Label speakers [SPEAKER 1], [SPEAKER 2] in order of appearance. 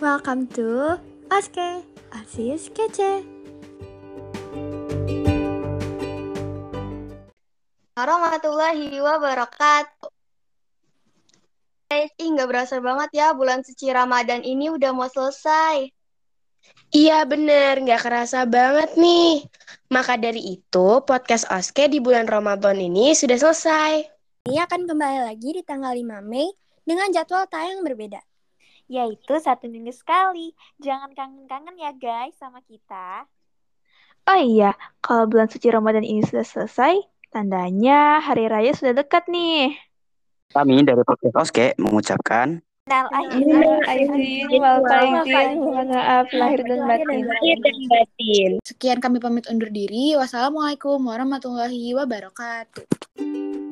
[SPEAKER 1] Welcome to Oske, Asis Kece.
[SPEAKER 2] warahmatullahi wabarakatuh. Guys, ih nggak berasa banget ya bulan suci Ramadan ini udah mau selesai.
[SPEAKER 3] Iya bener, nggak kerasa banget nih. Maka dari itu, podcast Oske di bulan Ramadan ini sudah selesai.
[SPEAKER 1] Ini akan kembali lagi di tanggal 5 Mei dengan jadwal tayang berbeda.
[SPEAKER 4] Yaitu satu minggu sekali. Jangan kangen-kangen ya guys sama kita.
[SPEAKER 5] Oh iya, kalau bulan suci Ramadan ini sudah selesai, tandanya hari raya sudah dekat nih.
[SPEAKER 6] Kami dari podcast Oske mengucapkan
[SPEAKER 4] Nal
[SPEAKER 7] Nah, Aizin, wal faizin, mohon maaf lahir
[SPEAKER 4] ya,
[SPEAKER 7] dan batin.
[SPEAKER 1] Sekian kami pamit undur diri. Wassalamualaikum warahmatullahi wabarakatuh.